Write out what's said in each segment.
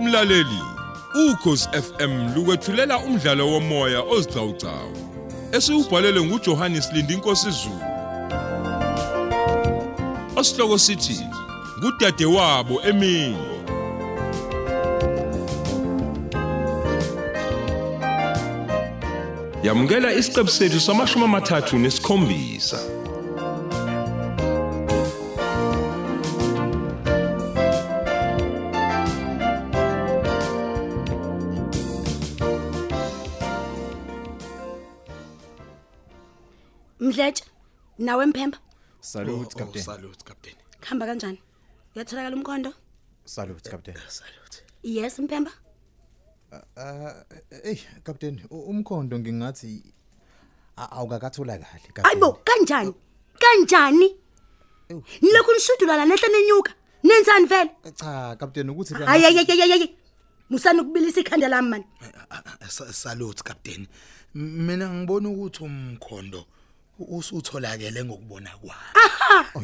Mlaleli, ukhosi FM lukwethulela umdlalo womoya ozicawucawu. Esiubhalelwe nguJohannes Lindi Nkosi Zulu. Osihloko sithi kudade wabo emini. Yamukela isiqebu sethu samashumi amathathu nesikhombisa. Mdletshe, nawe mphemba, Salute captain. Salute captain. khamba kanjani? Uyatholakala umkhondo? Salute captain. Salute. Yes mphemba. Ey captain, u- umkhondo ngingathi a- awukakathola kahle captain. Ayibo kanjani? Kanjani? Nilokhu nishudula la nehle nenyuka. Nenzani vele? Cha captain ukuthi phela- Hayi hayi hayi hayi. Musani ukubilisa ikhanda lami man. Salute captain. M- Mina ngibona ukuthi umkhondo u- usutholakele ngokubona Ah, kwami.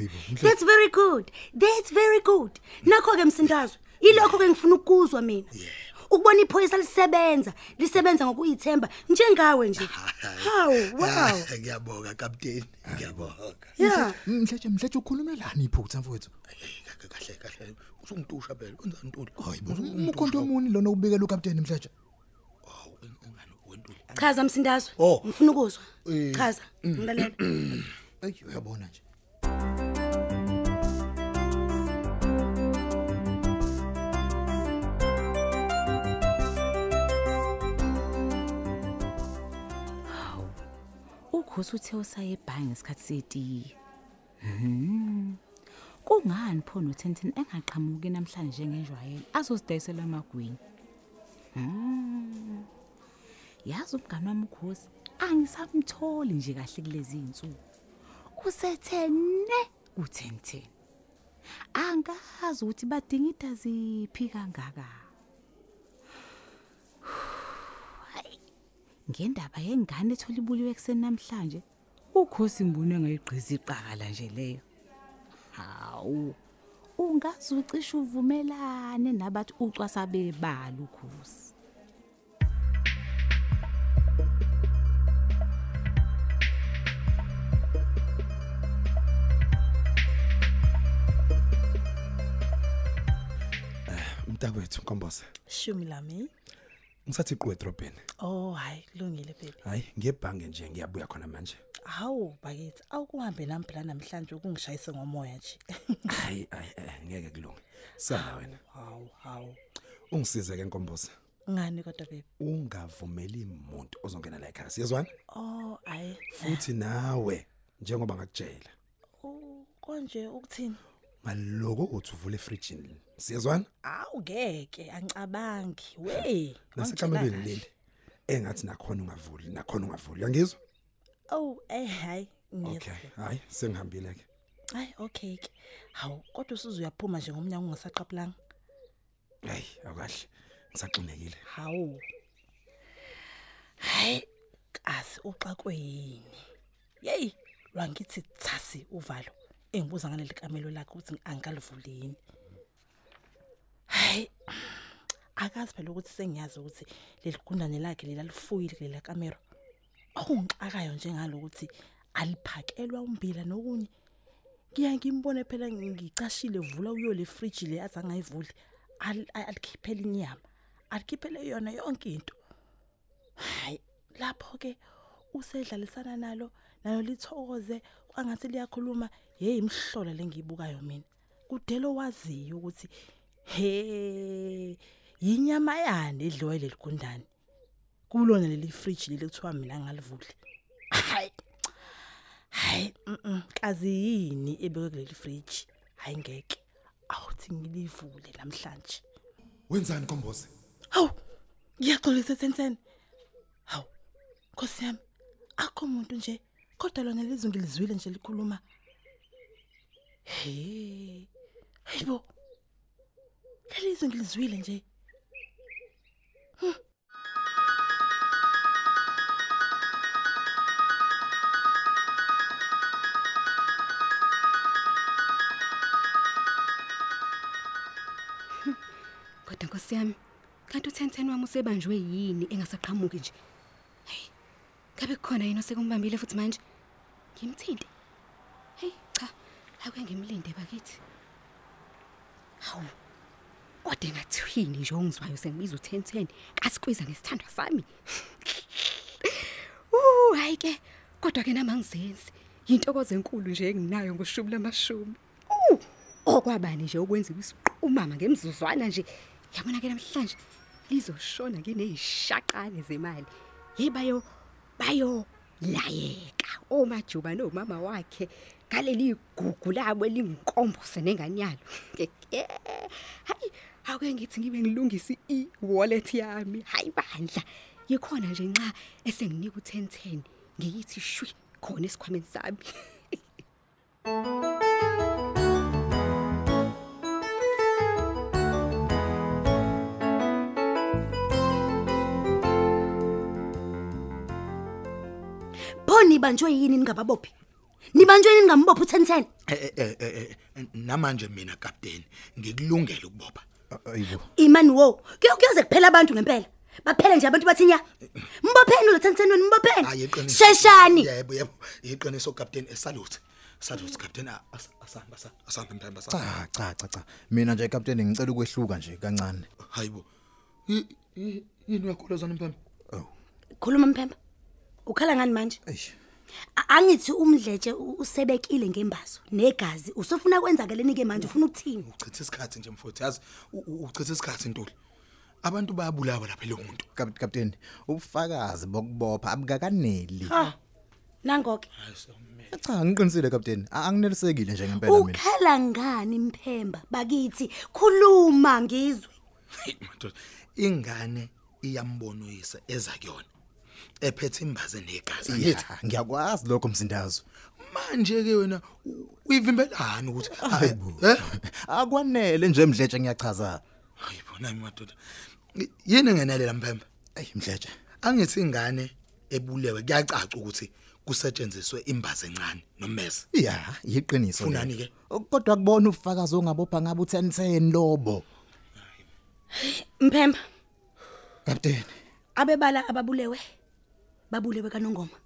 Ayibo, mhle. That's very good. That's very good. Nakho ke msindazwe, ilokho ke ngifuna ukuzwa mina. Ukubona iphoyisa lisebenza, lisebenza ngokuyithemba njengawe nje. Haw, wow. Ah, Ngiyabonga captain. Ngiyabonga. Yeah. Mhletje mhletje ukhulumelani iphutha mfowethu? Kahle kahle kahle. Usungitusha phela. Unza ntuli. Hayibo, umkhondo omuni lona ubikela ucaptain mhletje. Ungani wentuli. Chaza msindazwe. Oh. Eh. Mm. Ngifuna ukuzwa. Chaza. Ngilalela. Ey uyabona nje. ukhosi uthe usaye ebhange ngesikhathi setiye Hmm. kungani pho nothenten engaqhamuki namhlanje ngenjwayelo azozidayisela amagwinya Hmm. yazi umngane wami ukhosi angisamtholi nje kahle kulezi insuku usethene uthenten angazi ukuthi badinga into ziphi kangaka ngendaba yengane ethola ibuliwe ekuseni namhlanje ukhosi imbune ngayigqiza iqakala nje leyo hawu ungazucisha uvumelane nabathi ucwasa bebala ukhosi mntakwethu nkombose shumi lami ngisathi iquwe edrobheni oh hayi kulungile baby hhayi ngebhange nje ngiyabuya khona manje hawu bakithi awukuhambe nami phela namhlanje ukungishayise ngomoya nje hayi hayi eh, ngeke kulunge sala wena hawu hawu ungisize ke nkombose ngani kodwa baby ungavumeli muntu ozongena la ekhaya siyezwana oh hayi futhi nawe njengoba ngakutshela Oh, konje ukuthini ngaloko uthi uvule efrijini siyezwana awu ngeke angicabangi we nasekamelweni wangitshela leli engathi nakhona ungavuli nakhona ungavuli uyangizwa kahle. oh eh hayi okay hhayi sengihambile ke hayi okay ke hawu kodwa usuze uyaphuma nje ngomnyango ungasaqaphulanga hayi awukahle ngisaxinekile hawu hayi kasi uxakwe yini yeyi lwangithi thasi uvalo engibuza ngaleli kamelo lakhe ukuthi angikalivuli yini hayi akazi phela ukuthi sengiyazi ukuthi leli gundane lakhe leli alifuyile kulela kamero okungixakayo njengalokuthi aliphakelwa umbila nokunye ngiya ngimbone phela ngicashile vula uyo le fridge le azangayivuli Al- al- alikhiphele inyama alikhiphele yona yonke into hayi lapho ke usedlalisana nalo nalo lithokoze kwangathi liyakhuluma hey imhlola lengiyibukayo mina kudelo waziyo ukuthi he yinyama yani edliwe leli gundane kulona leli fridge leli kuthiwa mina ngalivuli hayi hayi mhm, kazi yini ebekwe kuleli fridge hayi ngeke awuthi ngilivule namhlanje wenzani nkombose hawu ngiyaxolisa sensene hawu nkosi yami akho muntu nje kodwa lona lizwi ngilizwile nje likhuluma he hayibo lelizwi ngilizwile nje Kodwa nkosiyami, umtheni wami usebanjwe yini engasaqhamuki nje hey kabe kukhona yini osekumbambile futhi manje ngimthinte hey cha ake ngimlinde bakithi hawu kodwa ngathini nje ongizwayo sengibiza u1010 kasikwiza ngesithandwa sami Uh, hayi ke. Kodwa ke namangizenzi. Yintokozo enkulu nje enginayo ngoshubula amashumi. Uh, okwabani nje okwenziwa isiqumama ngemzuzwana nje. Yabona ke namhlanje lizoshona nginezishaqane zemali. Yebayo bayo layeka omajuba nomama wakhe ngaleli gugu labo elinkombose nengane yalo. Hayi, awuke ngithi ngibe ngilungisa i-wallet yami. Hayi bandla. Yikhona nje nxa esenginika u1010 ngiyithi shwi khona esikhwameni sami. pho nibanjwe yini ningababophi nibanjwe yini ningambophi u1010 Eh, eh, eh, eh, namanje mina kapteni ngikulungele ukubopha ayibo imani wo kuyo- kuyoze kuphela abantu ngempela baphele nje abantu bathi nya mbopheni lo 1010 wenu Hayi, mbopheni iqiniso. sheshani Ah, yebo yebo iqiniso kapteni salute salute Ah, kapteni asahamba asahamba mthamba asahamba cha cha cha cha mina nje captain ngicela ukwehluka nje kancane Ah. hayibo Y- y- yini uyakholezana mphamba khuluma mphemba ukhala ngani manje eish A- angithi umdletshe u- usebekile ngembazo negazi usofuna kwenzakaleni ke manje ufuna ukuthini uchitha isikhathi nje mfowethu yazi u- u- uchitha isikhathi ntuli abantu bayabulawa lapha lo muntu Cap- captain ubufakazi bokubopha abukakaneli ha nangoke Eh, cha ngiqinisile captain A- anginelisekile nje ngempela mina ukhala ngani mphemba bakithi khuluma ngizwe Hey, madod ingane iyambona uyise eza kuyona ephethe imbaze negazi angithi Ya, ngiyakwazi lokho msindazo manje ke wena u- uyivimbelani ukuthi Hayibo. eh akwanele nje mdletshe ngiyachaza hayibona madod yini ngenelela mphemba eyi mdletshe angithi ingane ebulewe kuyacaca ukuthi kusetshenziswe imbaze encane nomese ya yiqiniso Funani lelo. ke? kodwa kubona ubufakazi ongabopha ngabe u1010 lobo mphemba captain abebala ababulewe babulewe kanongoma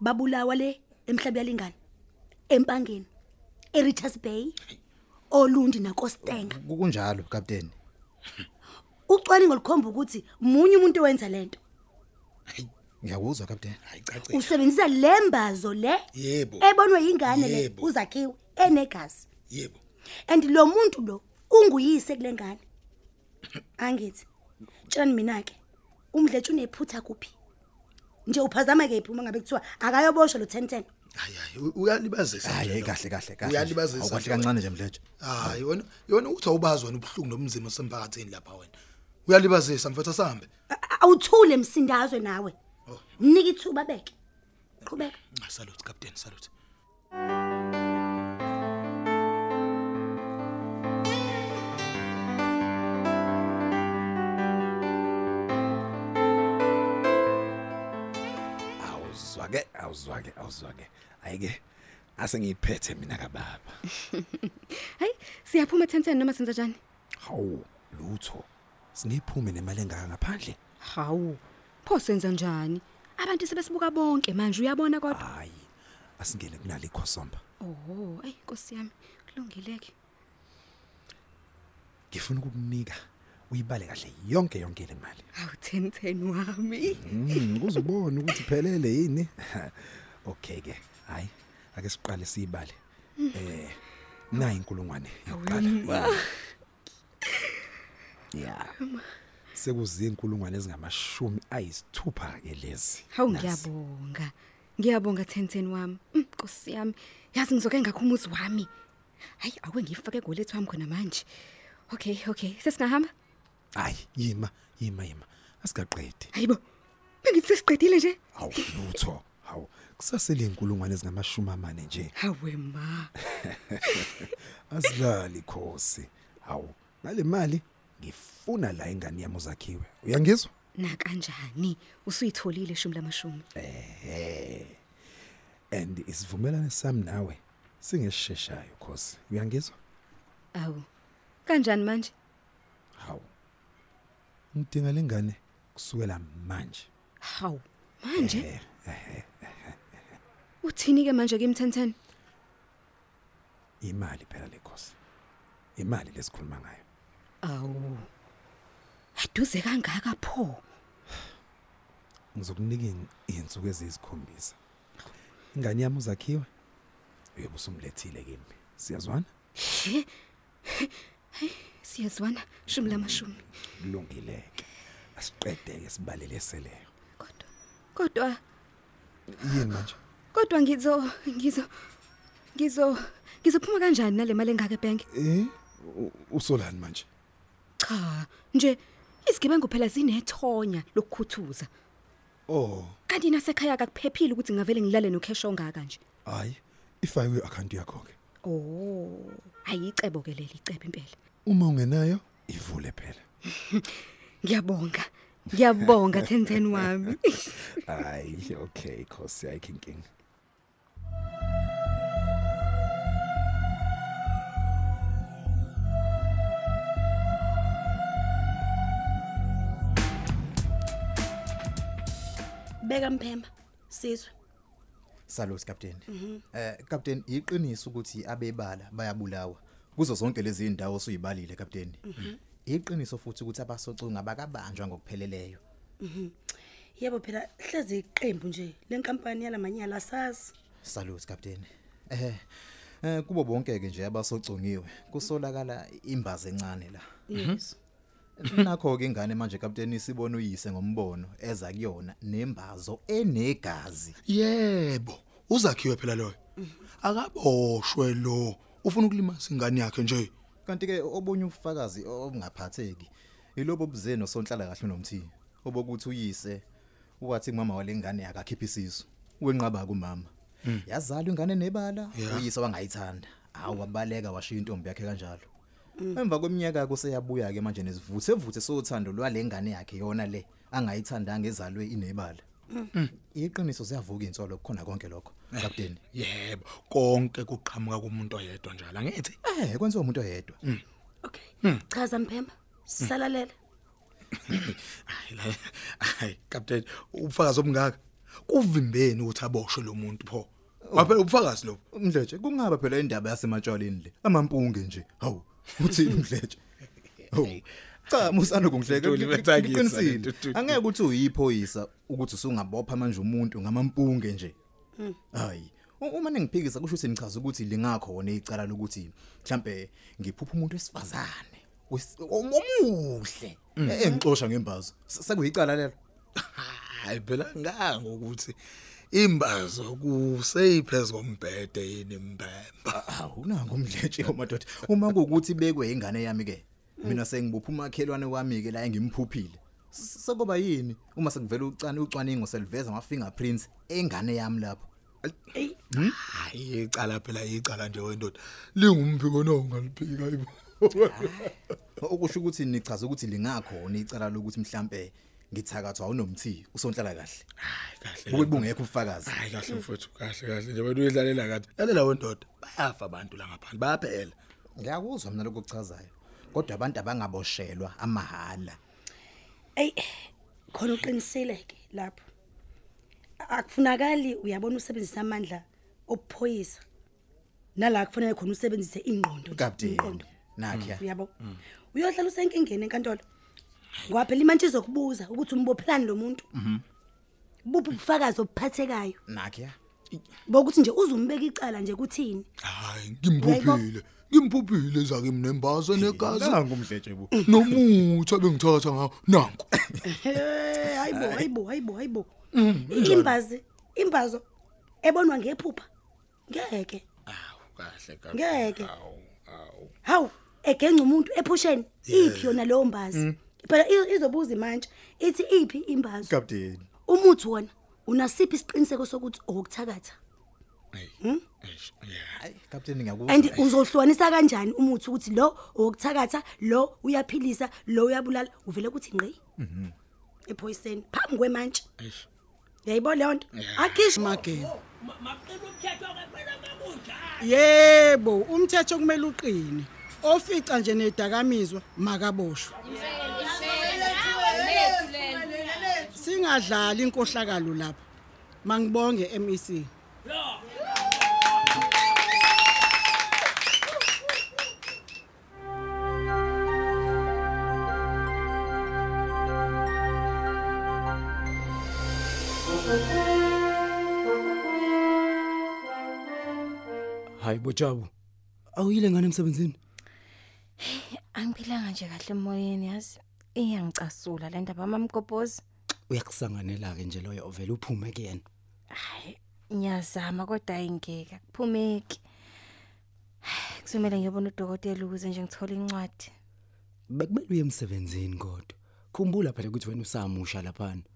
babulawa le emhlabi yalingani empangeni eRichards Bay olundi nakostenga kunjalo captain ucwaningo likhomba ukuthi munye umuntu owenza lento ngiyakuzwa captain ayicacile usebenzisa lembazo le Yebo. ebonwe yingane le Yebo. uzakhiwe enegazi yebo and lo muntu lo unguyise kulengane angithi tshani mina ke umdletshe unephutha kuphi nje uphazama ke iphuma ngabe kuthiwa akayoboshwa lo 1010 hayi hayi u- uyalibazisa nje hayi lo. kahle kahle kahle uyalibazisa awukahle nje kancane nje mdletshe hayi wena Ah, yona uthi awubazi wena ubuhlungu nomzimba osemphakathini lapha wena uyalibazisa mfethu asambe A- a- awuthule msindazwe nawe mnika ithuba beke qhubeka Ah, salute captain salute awuzwake awuzwake awuzwake ayike ase ngiyiphethe mina kababa Hayi siyaphuma 1010 noma senza njani? hawu lutho singiphume nemali engaka ngaphandle Hawu. Pho senza njani? Abantu sebesibuka bonke manje uyabona kodwa. hayi asingene kunale ikhosomba Oh, ayi Nkosi yami, kulungileke. ngifuna ukukunika uyibale kahle yonke yonke le mali Awu 1010 wami. Mm, ngizobona ukuthi phelele yini okay ke hayi ake siqale siyibale eh nayi inkulungwane Mm. yokuqala yeah sekuzinkulungwane ezingamashumi ayisithupha ke lezi Hawu Nazi. ngiyabonga. Ngiyabonga 1010 wami. Mm, Nkosi yami, yazi ngizoke ngakhumuzi wami. Hayi awuke ngifake golethu wami khona manje. Okay, okay. Sesingahamba? hayi yima yima yima asigaqedi Hayibo. Bengithi sesiqedile nje. hawu lutho hawu kusasele inkulungwane ezingamashumi amane nje Hawe ma. asilali khosi hawu ngale mali ngifuna la ingane yami uzakhiwe uyangizwa Na kanjani? Usuyitholile shumi lamashumi. and isivumelane sami nawe singesheshayo cause uyangizwa Awu. Kanjani manje? hawu ngidinga lengane kusukela manje Hawu, manje? Eh, Uthini ke manje kimthenten? imali phela lekhosi imali lesikhuluma ngayo Awu. Aduze kangaka pho. ngizokunika iy'n- iy'nsuku eziyisikhombisa ingane yami uzakhiwe uyobe usumlethile kimi siyazwana Siyazwana shumi lamashumi. kulungileke asiqedeke sibalele seleyo Kodwa kodwa yini manje kodwa ngizo ngizo ngizo ngizophuma kanjani nale mali engaka ebank? eh u- usolani manje Cha, nje isigebengu phela zinethonya lokukhuthuza. oh Kanti nasekhaya akuphephile ukuthi ngavele ngilale nocash ongaka nje. hayi ifayiwe i-akhawunti yakho-ke Oh, ayicebo ke leli icebo impela. uma ungenayo ivule phela Ngiyabonga. Ngiyabonga Thenten wami. hayi okay khosi ayikho inkinga beka mphemba sizwe Salusi kapteni. Eh kapteni iqiniso ukuthi abebala bayabulawa. Kuzo zonke lezi ndawo osuyibalile kapteni. Iqiniso futhi ukuthi abasocunga bakabanjwa ngokupheleleyo. yebo phela hleze iqembu nje lenkampani yalamanyala asazi Salusi kapteni. Eh eh kubo bonke ke nje abasocungiwe kusolakala imbaze encane la. yes Nakho ke ingane manje kapteni sibona uyise ngombono eza kuyona nembazo enegazi. Yebo, uzakhiwe phela loyo. Akaboshwe lo. Ufuna ukulimaza ingane yakhe nje. Kanti ke obunye ubufakazi obungaphatheki ilobo obuzeno sonhlala kahle nomthiyo obokuthi uyise wathi mama walengane akakhipha isisu wenqaba kumama Hmm. yazalwa ingane nebala uyise wangayithanda awu wabaleka washiya intombi yakhe kanjalo Hmm. emva kweminyaka kuseyabuya ke manje nesivuthe vuthe sothando lwalengane yakhe yona le angayithandanga ezalwe inebala Hmm. Hmm. iqiniso siyavuka insolo kukhona konke lokho Eh. kapteni Yebo, konke kuqhamuka kumuntu oyedwa njalo. Angithi eh kwenziwa umuntu oyedwa Hmm. okay chaza mphemba sisalalele hayi la hayi captain ubufakazi obungaka kuvimbeni ukuthi aboshwe lo muntu pho. Waphela ubufakazi lo. Mdletshe kungaba phela indaba yasematshwaleni le amampunge nje hawu uthini Mdletshe hawu cha musana kungihleka Ntuli bethakisa ngiqinisile lento, Ntuli. angeke ukuthi uyiphoyisa ukuthi usungabopha manje umuntu ngamampunge nje hayi U- uma ningiphikisa kusho ukuthi ngichaza ukuthi lingakho wona icala lokuthi mhlambe ngiphupha umuntu wesifazane wes- omuhle Eh, engixosha ngembazo Se- sekuyicala lelo Hayi phela nganga ukuthi imbazo kuseyiphezulu kombhede yini imbemba. awunanga umdletshe Ah, omadoda uma kuwukuthi bekwe ingane yami ke mina sengibupha umakhelwane wami ke la engimphuphile S- sekuba yini uma sekuvela ucane ucwaningo seliveza ama-fingerprints engane yami lapho Hmm? Hayi icala phela icala nje wendoda. Lingumbiko nongaliphika ibo. okusho ukuthi nichaza ukuthi lingakhona icala lokuthi mhlampe ngithakathwa unomthiyo usonhlala kahle Hayi kahle. ukuthi bungekho ubufakazi Hayi kahle mfowethu kahle kahle nje wena uyidlalela kathi. Lalela wendoda bayafa abantu la ngaphandle bayaphela. ngiyakuzwa mina lokho kuchazayo kodwa abantu abangaboshelwa amahala eyi khona uqiniseleke lapho akufunakali uyabona usebenzisa amandla obuphoyisa nala kufanele khona usebenzise ingqondo nje, kapteni umqondo. nakhe uyabo uyohlala usenkingeni enkantolo kwaphela imantshi izokubuza ukuthi umbophelani lo muntu Mhm. buphi ubufakazi obuphathekayo nakhe bokuthi nje uzumbeka icala nje kuthini Hayi Uyayibona? ngimphuphile. Ngimphuphile zake mnembazo negazi nanga umdletshe bu nomuthi abengithatha ngawo nanku. Eh, hayibo hayibo hayibo hayibo Mm, imbazi imbazo ebonwa ngephupha ngeke Awu kahle Ngeke. Awu awu. hawu egenca umuntu ephusheni iphi yona leyo Mm. mbazi phela i- izobuza imantshi ithi iphi imbazi kapteni umuthi wona unasiphi isiqiniseko sokuthi owokuthakatha Hmm? Hey. Eish, Yeah. hayi kapteni ngiyakuzwa and uzohlukanisa kanjani umuthi ukuthi lo owokuthakatha lo uyaphilisa lo uyabulala uvele kuthi ngqi ephoyiseni phambi kwemantshi Eish. yayibona leyo nto akhishi Yebo, umthetho kumele uqine. Ofica nje nedakamizwa makaboshwe. singadlali inkohlakalo lapha mangibonge E MEC hayi bojabu awuyile ngane emsebenzini Angiphilanga nje kahle emoyeni yazi. Iyangicasula le ndaba mamgobhozi. uyakusanganela ke nje loyo ovela uphume kuyena Ngiyazama kodwa ayingeke kuphumeki. Kusomele ngiyobona udokotela ukuze nje ngithole incwadi. bekumele uye emsebenzini kodwa khumbula phela ukuthi wena usamusha laphana